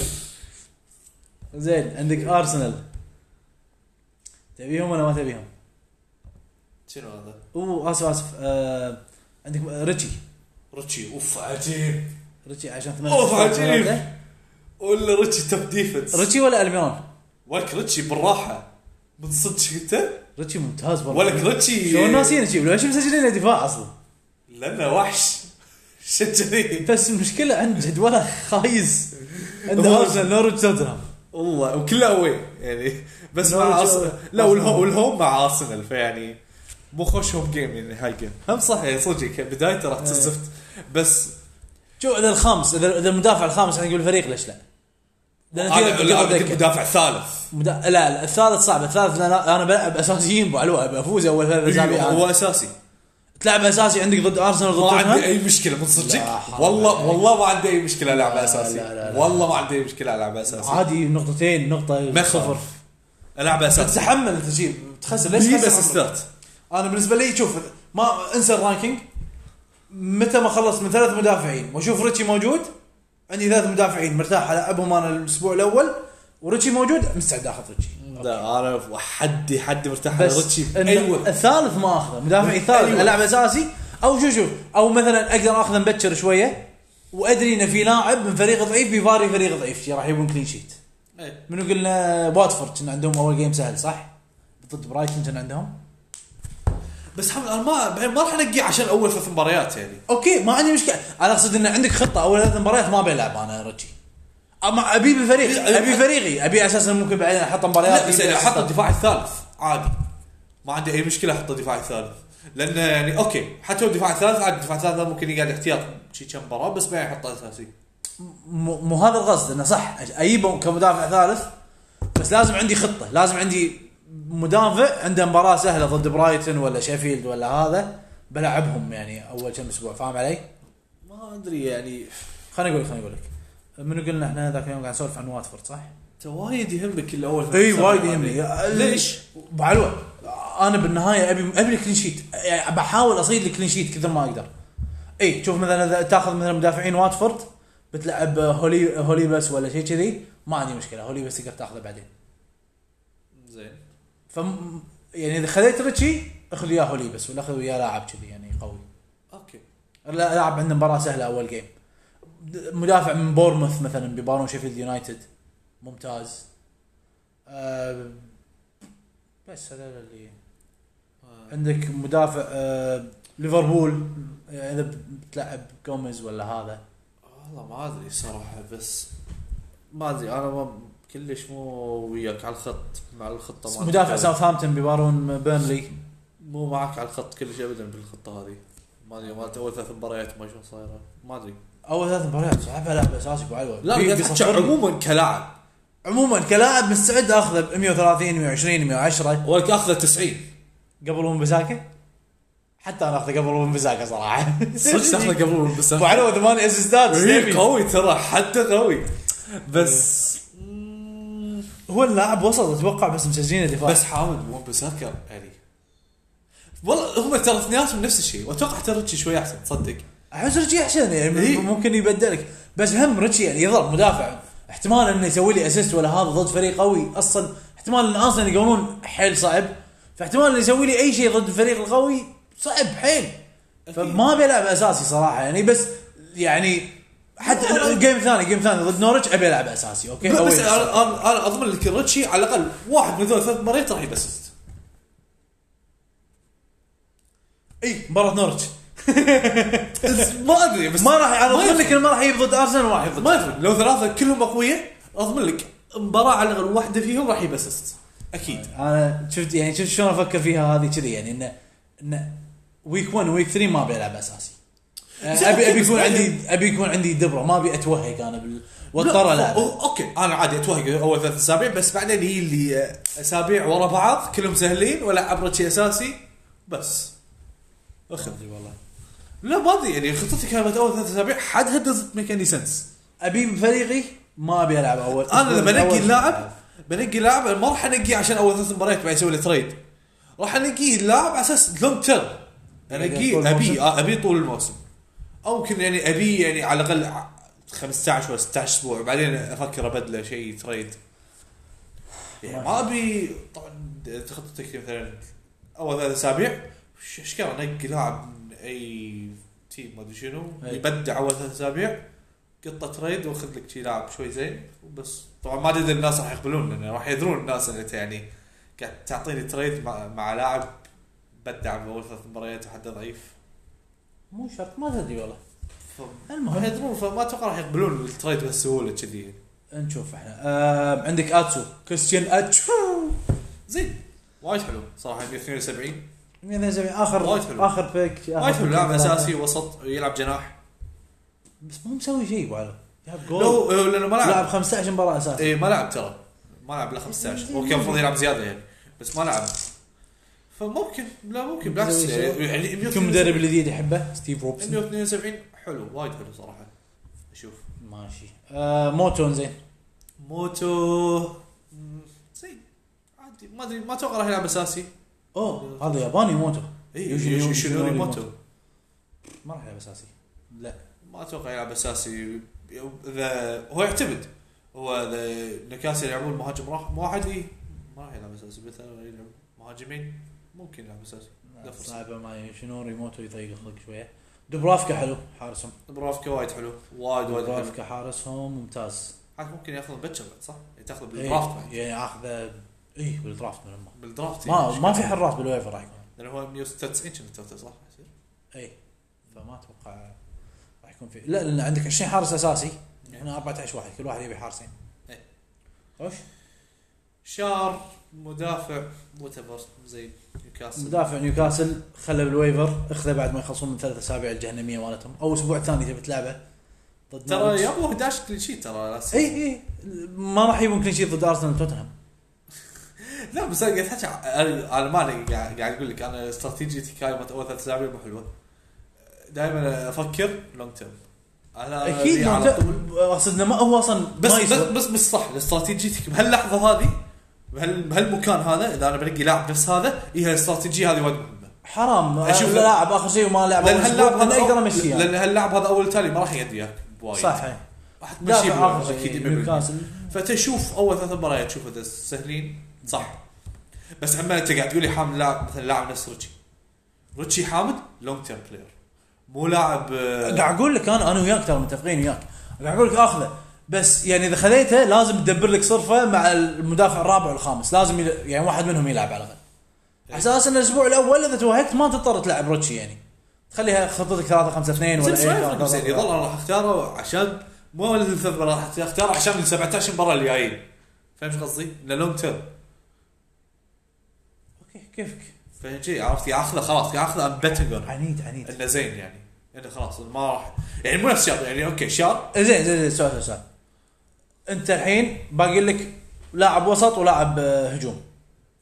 A: زين عندك ارسنال تبيهم ولا ما تبيهم؟
B: شنو هذا؟
A: اوه اسف اسف آه عندك ريتشي
B: ريتشي اوف عجيب
A: ريتشي عشان ثمانية
B: أوف،
A: أشواط
B: عجيب.
A: ثلاثة.
B: ولا ريتشي توب ديفنس
A: ريتشي ولا الميرون؟
B: ولك ريتشي بالراحه من صدق شفته؟
A: ريتشي ممتاز والله
B: ولك ريتشي
A: شلون ناسين شيء ليش مسجلين دفاع اصلا؟
B: لانه وحش شو كذي
A: بس المشكله عند جدوله خايس عند
B: هو-
A: ارسنال نورج توتنهام
B: والله وكله اوي يعني بس
A: لا،
B: مع
A: جو-
B: ارسنال لا والهوم, والهوم مع ارسنال فيعني مو خوش هوم جيم يعني هالجيم هم صح يعني صدق بدايته
A: إيه.
B: راح تزفت بس
A: شو اذا الخامس اذا اذا المدافع الخامس احنا نقول الفريق ليش لا؟ لان
B: انا
A: تقدر- تقدر
B: لا عندك
A: تذكر.
B: مدافع ثالث
A: مدا- لا لا الثالث صعب الثالث لأن انا انا بلعب اساسيين ابو علوة أبي افوز اول ثلاث اسابيع
B: أيوه، أيوة، هو
A: أنا.
B: اساسي
A: تلعب اساسي عندك ضد ارسنال ضد
B: ما عندي
A: توتنهام
B: اي مشكله من صدقك
A: لا حول
B: والله
A: ولا
B: والله ما عندي اي مشكله العب
A: لا،
B: اساسي
A: لا، لا، لا.
B: والله ما عندي اي مشكله العب اساسي
A: عادي نقطتين نقطه
B: ما
A: صفر
B: خاف. العب اساسي
A: تتحمل انت شيء تخسر ليش
B: لي بس
A: تخسر؟
B: ستارت
A: انا بالنسبه لي شوف ما انسى الرانكينج متى ما خلص من ثلاث مدافعين واشوف ريتشي موجود عندي ثلاث مدافعين مرتاح العبهم انا الاسبوع الاول وريتشي موجود مستعد اخذ ريتشي
B: لا انا حدي حدي مرتاح على
A: بس
B: ريتشي
A: إن
B: ايوه
A: الثالث ما اخذه مدافعي ثالث
B: أيوة.
A: العب اساسي او شو شوف او مثلا اقدر اخذه مبكر شويه وادري ان في لاعب من فريق ضعيف بيفاري فريق ضعيف شي راح يبون كلين شيت
B: إيه.
A: منو قلنا واتفورد كان عندهم اول جيم سهل صح؟ ضد برايتون كان عندهم
B: بس حمد انا ما بعدين ما راح انقيه عشان اول ثلاث مباريات يعني
A: اوكي ما عندي مشكله انا اقصد ان عندك خطه اول ثلاث مباريات ما بيلعب انا ريتشي اما ابي بفريق ابي فريقي ابي اساسا ممكن بعدين احط مباريات
B: لا بس
A: يبي
B: يعني احط
A: أحطها.
B: الدفاع الثالث عادي ما عندي اي مشكله احط الدفاع الثالث لانه يعني اوكي حتى لو الدفاع الثالث عادي الدفاع الثالث ممكن يقعد احتياط شي كم مباراه بس بعدين احطه اساسي
A: مو مو هذا القصد انه صح اجيبه كمدافع ثالث بس لازم عندي خطه لازم عندي مدافع عنده مباراه سهله ضد برايتون ولا شيفيلد ولا هذا بلعبهم يعني اول كم اسبوع فاهم علي؟
B: ما ادري يعني
A: خليني اقول لك خليني اقول لك منو قلنا احنا ذاك اليوم قاعد نسولف عن واتفورد صح؟
B: انت وايد يهمك الاول ثلاث
A: اي
B: سبع
A: وايد
B: هذه.
A: يهمني
B: ليش؟
A: بعلوة انا بالنهايه ابي ابي الكلين شيت يعني بحاول اصيد الكلين شيت كثر ما اقدر اي شوف مثلا اذا تاخذ مثلا مدافعين واتفورد بتلعب هولي هولي بس ولا شيء كذي ما عندي مشكله هولي بس تقدر تاخذه بعدين
B: زين
A: ف يعني اذا خذيت ريتشي اخذ وياه هولي بس ولا اخذ وياه لاعب كذي يعني قوي
B: اوكي
A: لا- لاعب عنده مباراه سهله اول جيم مدافع من بورموث مثلا بيبارون شيفيلد يونايتد ممتاز أه بس هذول اللي عندك مدافع آه، ليفربول آه، اذا بتلعب جوميز ولا هذا
B: والله ما ادري صراحه بس ما ادري انا ما كلش مو وياك على الخط مع الخطه مالتك
A: مدافع
B: هذه.
A: ساوثهامبتون بيبارون بيرنلي
B: مو معك على الخط كلش ابدا بالخطه هذه ما ادري مالت اول ثلاث مباريات ما شلون صايره ما ادري
A: اول ثلاث مباريات صعبها لاعب اساسي بعلوة
B: لا
A: بي-
B: قاعد أحكي
A: بيصفر لي.
B: عموما كلاعب
A: عموما كلاعب مستعد اخذه ب 130 120 110
B: ولك اخذه 90
A: قبل ون بزاكا حتى انا اخذه قبل ون بزاكا صراحه
B: صدق تاخذه قبل ون بس
A: بعلوة ثمان اسيستات
B: إيه،
A: سيفي.
B: قوي ترى حتى قوي بس
A: هو اللاعب وسط اتوقع بس مسجلين دفاع
B: بس حامد مو بساكر يعني والله هم ترى اثنيناتهم نفس الشيء واتوقع حتى ريتشي شوي احسن تصدق
A: احس ريتشي احسن يعني
B: إيه.
A: ممكن يبدلك بس هم ريتشي يعني يضرب مدافع احتمال انه يسوي لي اسيست ولا هذا ضد فريق قوي اصلا احتمال ان ارسنال يقولون حيل صعب فاحتمال انه يسوي لي اي شيء ضد الفريق القوي صعب حيل فما بيلعب اساسي صراحه يعني بس يعني حتى جيم ثاني جيم ثاني ضد نورتش ابي العب اساسي اوكي
B: لا،
A: أوي
B: بس
A: بس.
B: انا انا أنا اضمن لك ريتشي على الاقل واحد من ذول ثلاث مباريات راح يبسست
A: اي مباراه نورتش
B: بس ما ادري بس
A: ما راح انا اضمن
B: يفرق.
A: لك انه ما راح يجيب ضد ارسنال واحد ضد
B: ما يفرق لو ثلاثه كلهم اقوياء اضمن لك مباراه على الاقل واحده فيهم راح يبسست اكيد
A: انا شفت يعني شفت شلون افكر فيها هذه كذي يعني انه انه ويك 1 ويك 3 ما بيلعب اساسي
B: زين،
A: ابي ابي
B: أوكي،
A: يكون
B: بس
A: عندي ابي يكون عندي دبره ما ابي اتوهق انا بال واضطر
B: لا،
A: العب
B: أو- أو- اوكي انا عادي اتوهق اول ثلاث اسابيع بس بعدين هي اللي آه، اسابيع ورا بعض كلهم سهلين ولا عبرت شيء اساسي بس اخذ والله لا ما ادري يعني خطتي كانت اول ثلاث اسابيع حدها دزنت ميك اني سنس
A: ابي بفريقي ما ابي العب اول
B: انا لما
A: أول
B: انقي
A: شيء
B: اللاعب بنقي لاعب ما راح انقيه عشان اول ثلاث مباريات بعدين اسوي له تريد راح انقيه اللاعب على اساس لونج تيرم
A: إيه، يعني طول
B: انقيه
A: الموسم؟
B: ابي آه، ابي طول الموسم او ممكن يعني ابي يعني على الاقل ع- 15 ولا 16 اسبوع بعدين افكر ابدله شيء تريد يعني ما ابي طبعا خطتك مثلا اول ثلاث اسابيع ش- اشكال انقي لاعب من اي تيم ما ادري شنو
A: أي.
B: يبدع اول ثلاث اسابيع قطه تريد واخذ لك شي لاعب شوي زين وبس طبعا ما ادري اذا الناس راح يقبلون لانه راح يدرون الناس ان انت يعني قاعد تعطيني تريد مع, مع لاعب بدع باول ثلاث مباريات وحده ضعيف
A: مو شرط ما تدري والله
B: ف- راح
A: المهم
B: يدرون فما اتوقع راح يقبلون التريد بهالسهوله كذي
A: نشوف احنا آه عندك اتسو كريستيان اتسو
B: زين وايد حلو صراحه 172
A: يعني زي اخر
B: وايد حلو.
A: اخر بيك آخر
B: وايد حلو
A: بيك
B: لاعب
A: ثلاثة.
B: اساسي وسط يلعب جناح
A: بس مو مسوي شيء بعد جاب جول
B: لو لانه ما لعب
A: لعب 15 مباراه اساسي
B: اي إيه، ما لعب ترى ما لعب له 15 هو كان المفروض يلعب زياده يعني بس ما لعب فممكن لا ممكن بالعكس يعني يعني
A: يمكن المدرب الجديد يحبه ستيف روبسون
B: 172 حلو وايد حلو صراحه اشوف
A: ماشي آه موتون زين
B: موتو مم، زين عادي ما ادري ما اتوقع راح يلعب اساسي
A: اوه هذا ياباني موتو
B: اي
A: يوشينوري-
B: يوشينوري
A: يوشينوري موتو.
B: موتو
A: ما راح يلعب اساسي لا
B: ما اتوقع يلعب اساسي اذا هو يعتمد هو اذا نكاسي يلعبون مهاجم راح واحد اي ما راح يلعب اساسي مثلا يلعب مهاجمين ممكن يلعب اساسي لا فرصة.
A: صعبه ما شنو ريموتو يضيق الخلق شويه دوبرافكا حلو حارسهم
B: برافكا وايد حلو وايد وايد حلو
A: دوبرافكا حارسهم ممتاز
B: حتى ممكن ياخذ بتشر بعد صح؟ يعني تاخذه
A: إيه،
B: بالدرافت بعد
A: يعني اخذه اي بالدرافت من الماء
B: بالدرافت
A: ما
B: يعني.
A: ما في حراس بالويفر راح يكون
B: لانه هو 196 كان التوتال صح؟ يصير؟
A: اي فما اتوقع راح يكون في لا لان عندك 20 حارس اساسي
B: نعم. يعني
A: احنا 14 واحد كل واحد يبي حارسين
B: إيه.
A: خوش
B: شار مدافع وات زي نيوكاسل
A: مدافع نيوكاسل خله بالويفر اخذه بعد ما يخلصون من ثلاث اسابيع الجهنميه مالتهم او اسبوع ثاني تبي تلعبه ضد
B: ترى
A: نورwich.
B: يابو 11 كل شيء ترى لا تصير.
A: اي اي ما راح يجيبون كلين شيت ضد ارسنال وتوتنهام
B: لا بس انا قاعد احكي عن- على مالي قاعد قاعد اقول لك انا استراتيجيتي كانت اول ثلاث اسابيع مو حلوه دائما افكر لونج تيرم انا
A: اكيد
B: لي آه، يعني على
A: ممتاز.
B: طول-
A: اقصدنا ما هو اصلا
B: بس
A: ما
B: بس
A: يسوى.
B: بس, بس صح استراتيجيتك بهاللحظه هذه بهال بهالمكان هذا اذا انا بنقي لاعب نفس هذا هي الاستراتيجيه هذه وايد مهمه
A: حرام
B: أشوف-
A: اشوف لاعب اخر شيء وما لعب
B: لان
A: أول أسبوع،
B: هاللاعب
A: انا
B: هذا
A: اقدر امشيه
B: لان هاللاعب هذا اول تالي ما راح يد وياك بوايد
A: يعني. صح إيه.
B: راح تمشيه
A: دافع
B: بوايد،
A: اخر شيء
B: اكيد 100%.
A: نيوكاسل
B: فتشوف اول ثلاث مباريات تشوف اذا سهلين صح بس اما انت قاعد تقول لي حامل لاعب مثلا لاعب نفس ريتشي ريتشي حامد لونج تيرم بلاير مو لاعب آه،
A: قاعد اقول لك انا انا وياك ترى متفقين وياك قاعد اقول لك اخذه بس يعني اذا خذيته لازم تدبر لك صرفه مع المدافع الرابع والخامس لازم يل... يعني واحد منهم يلعب على الاقل على اساس ان الاسبوع الاول اذا توهقت ما تضطر تلعب روتشي يعني خليها خطتك 3 5 2
B: زين
A: ولا
B: بس
A: أي
B: ما
A: كان،
B: يفرق
A: ثلاثة،
B: زين يظل
A: ثلاثة.
B: انا راح اختاره عشان مو الثلاث مباريات راح اختاره عشان ال 17 مباراه اللي جايين فاهم ايش قصدي؟ انه لونج تيرم
A: اوكي كيفك
B: فشي عرفت يا اخذه خلاص يا اخذه ام بيتنج
A: عنيد عنيد
B: انه زين يعني انه خلاص ما راح يعني مو نفس شاب يعني اوكي شاب
A: زين زين زين سؤال سؤال، سؤال انت الحين باقي لك لاعب وسط ولاعب آه، هجوم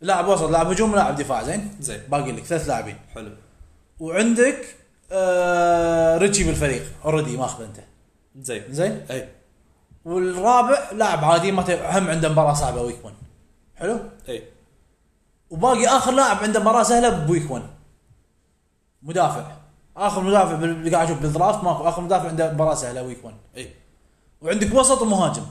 A: لاعب وسط لاعب هجوم ولاعب دفاع زين
B: زين
A: باقي لك ثلاث لاعبين
B: حلو
A: وعندك آه ريتشي بالفريق اوريدي ماخذ انت
B: زين
A: زين
B: اي
A: والرابع لاعب عادي ما ت- هم عنده مباراه صعبه ويك 1 حلو
B: اي
A: وباقي اخر لاعب عنده مباراه سهله بويك 1 مدافع اخر مدافع بال- اللي قاعد اشوف بالدرافت ماكو اخر مدافع عنده مباراه سهله ويك 1
B: اي
A: وعندك وسط ومهاجم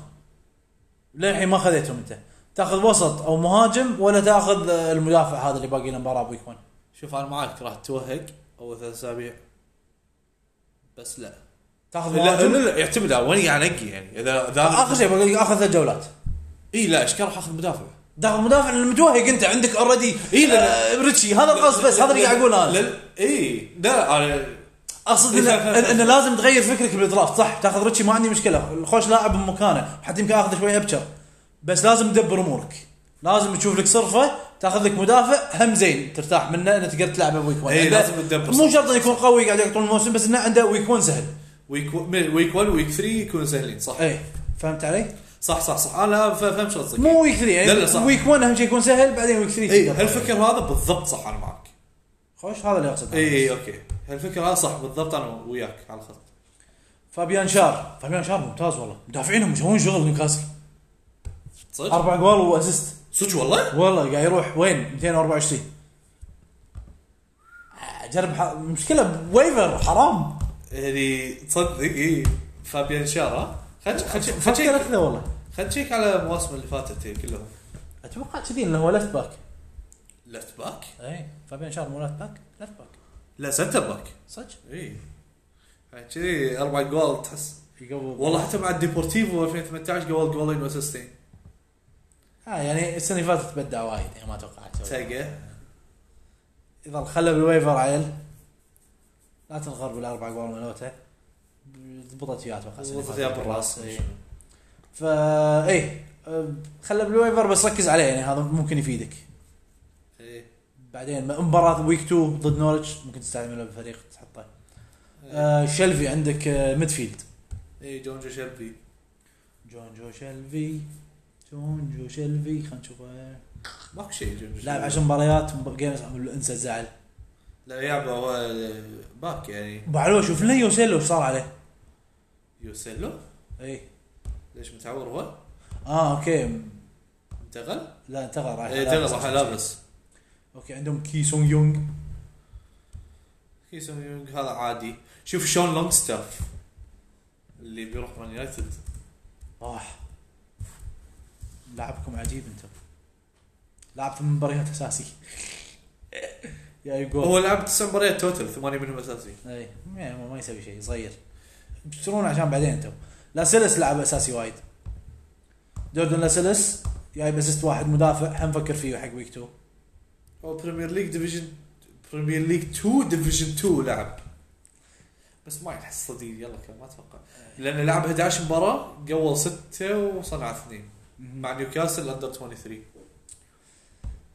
A: للحين ما خذيتهم انت تاخذ وسط او مهاجم ولا تاخذ آه، المدافع هذا اللي باقي له مباراه بويك 1
B: شوف انا معاك راح توهق اول ثلاث اسابيع بس لا
A: تاخذ
B: لا لا,
A: مهاجم
B: لا يعتمد على وين قاعد انقي يعني اذا اذا
A: اخر شيء باقي لك اخذ ثلاث جولات
B: اي لا اشكال راح اخذ مدافع
A: داخل مدافع لأن متوهق انت عندك اوريدي
B: إي لا-
A: ريتشي هذا القصد بس هذا اللي قاعد اقوله انا
B: اي إيه، لا انا
A: اقصد
B: إي،
A: انه
B: فاهم- فاهم.
A: إن- انه لازم تغير فكرك بالدرافت صح تاخذ ريتشي ما عندي مشكله خوش لاعب بمكانه حتى يمكن اخذ شوي ابشر بس لازم تدبر امورك لازم تشوف لك صرفه تاخذ لك مدافع هم زين ترتاح منه انه تقدر تلعبه بويك 1
B: إي، إيه، لازم تدبر
A: مو شرط إنه يكون قوي قاعد يقطع الموسم بس انه عنده ويك 1 سهل
B: ويك من ويك 1 ويك 3 يكونوا سهلين صح
A: اي فهمت علي؟
B: صح صح صح انا ف- فهمت شو قصدك
A: مو ويك 3
B: لا، لا، صح.
A: يعني ويك 1 اهم شيء يكون سهل بعدين ويك 3
B: اي إيه، هالفكر هذا بالضبط صح انا معك
A: خوش هذا اللي اقصده
B: اي اي اوكي هالفكر هذا صح بالضبط انا وياك على الخط
A: فابيان شار فابيان شار ممتاز والله مدافعينهم يسوون شغل نيوكاسل
B: صدق
A: اربع جوال واسيست
B: صدق والله
A: والله قاعد يروح وين 224 آه، جرب ح... مشكله ويفر حرام
B: يعني تصدق اي فابيان شار ها خلنا
A: فكر
B: خلنا
A: اخذه والله
B: خلنا نشيك على المواسم اللي فاتت هي كلهم
A: اتوقع كذي انه هو لفت باك
B: لفت باك؟
A: اي إيه، فابيان شار مو لفت باك لفت باك
B: لا سنتر باك
A: صدق
B: اي إيه. كذي اربع جوال تحس
A: يقوم
B: والله حتى مع الديبورتيفو 2018 قبل جولين واسيستين
A: آه يعني السنه اللي فاتت بدع وايد يعني ما اتوقع تسوي.
B: تاجا
A: اذا خلى بالويفر عيل لا تنغر بالاربع جوال مالوته ضبطت وياه اتوقع السنة اللي
B: ضبطت إيه. اياه
A: فاتت.
B: بالراس
A: إي. فا اي أه، خله بالويفر بس ركز عليه يعني هذا ممكن يفيدك
B: إي.
A: بعدين مباراه ويك 2 ضد نورتش ممكن تستعمله بفريق تحطه آه شلفي عندك آه ميدفيلد
B: اي إيه، جون جو شيلبي
A: جون جو شلفي جون جو شلفي خلينا نشوفه
B: ماكو شيء جون جو
A: لاعب
B: شيلبي.
A: عشر مباريات مب- جيمز عمل له انسى الزعل
B: لا يابا هو باك يعني
A: بعلو شوف لنا يوسيلو ايش صار عليه
B: يوسيلو
A: اي
B: ليش متعور هو؟
A: اه اوكي
B: انتقل؟
A: لا انتقل راح
B: اي انتقل راح لابس
A: اوكي عندهم كي سونغ يونغ
B: كيسون يونغ هذا عادي شوف شون لونج ستاف اللي بيروح مان يونايتد
A: اه لاعبكم عجيب انتم لاعب ثمان مباريات اساسي يا يقول
B: هو لعب تسع مباريات توتل ثمانيه منهم اساسي
A: اي ما- ما يسوي شيء صغير بيشترون عشان بعدين انتم لاسيلس لعب اساسي وايد جوردن لاسيلس جايب اسيست واحد مدافع حنفكر فيه حق ويك 2
B: هو بريمير ليج ديفيجن بريمير ليج 2 ديفيجن 2 لعب بس ما يحس صديق يلا كان ما اتوقع لانه لعب 11 مباراه قول سته وصنع اثنين مع نيوكاسل اندر 23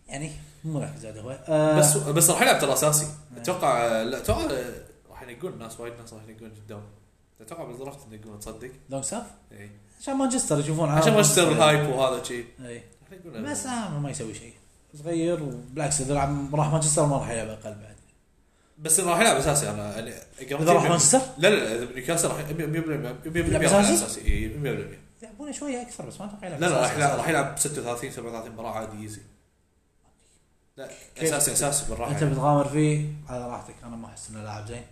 A: يعني مو راح زاد هو آه
B: بس بس راح يلعب ترى اساسي اتوقع لا اتوقع راح ينقون الناس وايد ناس راح ينقون قدام اتوقع بالدرافت ينقون تصدق
A: لونج ساف
B: اي
A: عشان مانشستر يشوفون
B: عشان ما اشتري الهايب وهذا شيء
A: اي
B: راح ينقون
A: بس آه ما يسوي شيء صغير وبالعكس اذا لعب راح مانشستر ما راح يلعب اقل بعد
B: بس راح يلعب اساسي انا يعني
A: اذا راح مانشستر
B: لا لا لا اذا نيوكاسل راح 100% 100%
A: يلعب
B: راح يلعب
A: أساسي؟
B: اساسي إي، 100%
A: يلعبونه شويه اكثر بس ما اتوقع يلعب
B: لا لا
A: أساسي.
B: راح يلعب راح يلعب 36 37 مباراه عادي ايزي لا اساسي اساسي
A: انت
B: بالراحه
A: بتغامر فيه على راحتك انا ما احس انه لاعب زين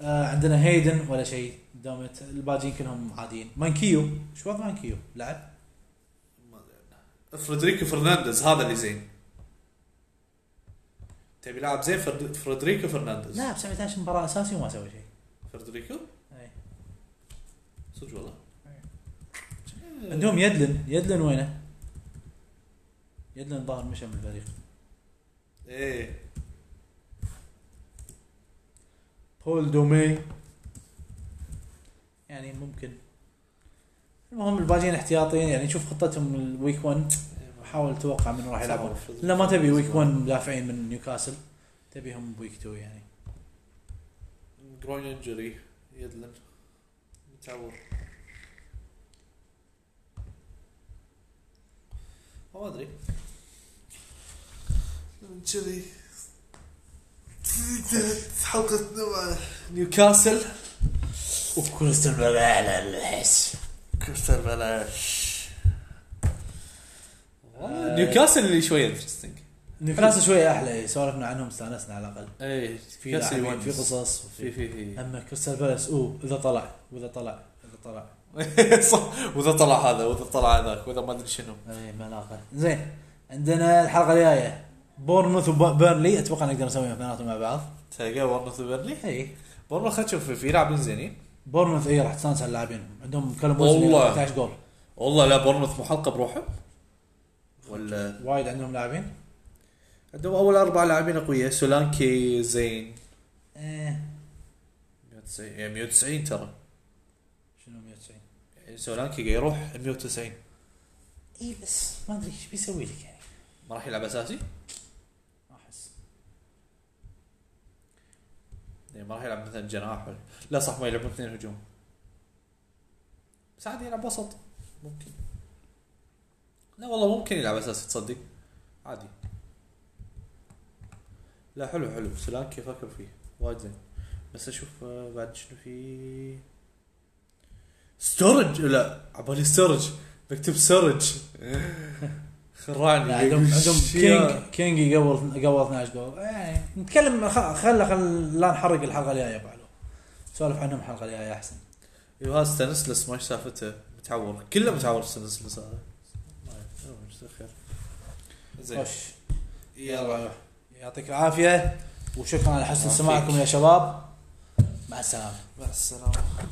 A: آه عندنا هيدن ولا شيء دامت الباجين كلهم عاديين مانكيو شو وضع مانكيو لعب
B: ما- فريدريكو فرنانديز هذا اللي زين تبي لاعب زين فرد- فريدريكو فرنانديز
A: لعب 17 مباراه اساسي وما سوى شيء إيه.
B: فريدريكو
A: أي.
B: صدق والله
A: إيه. عندهم يدلن يدلن وينه يدلن ظاهر مشى من الفريق إيه،
B: ايه
A: بول دومي يعني ممكن المهم الباجين احتياطيين يعني شوف خطتهم الويك 1 حاول توقع من راح يلعبون لا ما تبي ويك 1 مدافعين من نيوكاسل تبيهم بويك 2 يعني
B: جروين انجري يدلن متعور ما ادري كذي حلقتنا مع نيوكاسل
A: وكريستال بالاس
B: كريستال بلاش نيوكاسل اللي شويه انترستنج
A: نيوكاسل شويه احلى إيه، سولفنا عنهم استانسنا على الاقل
B: اي
A: في لاعبين في قصص
B: في
A: وفي
B: في في
A: اما كريستال بالاس اوه اذا طلع واذا طلع اذا طلع
B: صح واذا طلع هذا واذا طلع هذاك واذا إيه، ما ادري شنو
A: اي ملاقه زين عندنا الحلقه الجايه بورنموث وبيرلي اتوقع نقدر نسويهم اثنيناتهم مع بعض
B: تلقى بورنموث بيرلي
A: اي
B: بورنموث خلينا نشوف في لاعبين زينين
A: بورنموث اي راح تستانس على اللاعبين عندهم كلهم
B: والله.
A: 13 جول
B: والله لا بورنموث محلقه بروحه ولا
A: وايد عندهم لاعبين
B: عندهم اول اربع لاعبين اقوياء سولانكي زين
A: ايه
B: 190 يعني 190 ترى
A: شنو 190
B: يعني سولانكي قاعد يروح 190
A: اي إيه، بس ما ادري ايش بيسوي لك يعني
B: ما راح يلعب اساسي
A: ما احس
B: يعني ما راح يلعب مثلا جناح ولا لا صح ما يلعبون اثنين هجوم بس عادي يلعب وسط ممكن لا والله ممكن يلعب اساسي تصدق عادي لا حلو حلو سلانكي فكر فيه وايد زين بس اشوف آه، بعد شنو في ستورج لا عبالي ستورج بكتب ستورج خرعني
A: لا عندهم عندهم
B: شيا.
A: كينج كينج يقول قبل 12 جول يعني نتكلم خل خل خل لا نحرق الحلقه الجايه يا أبو علو سولف عنهم الحلقه الجايه احسن
B: يو هذا ستانسلس ما إيش سالفته متعور كله متعور ستانسلس هذا ما أعرف. يلا، جزاه خير زين
A: خوش
B: يلا
A: يعطيك العافيه وشكرا على حسن
B: يعافيك.
A: سماعكم يا شباب مع السلامه
B: مع السلامه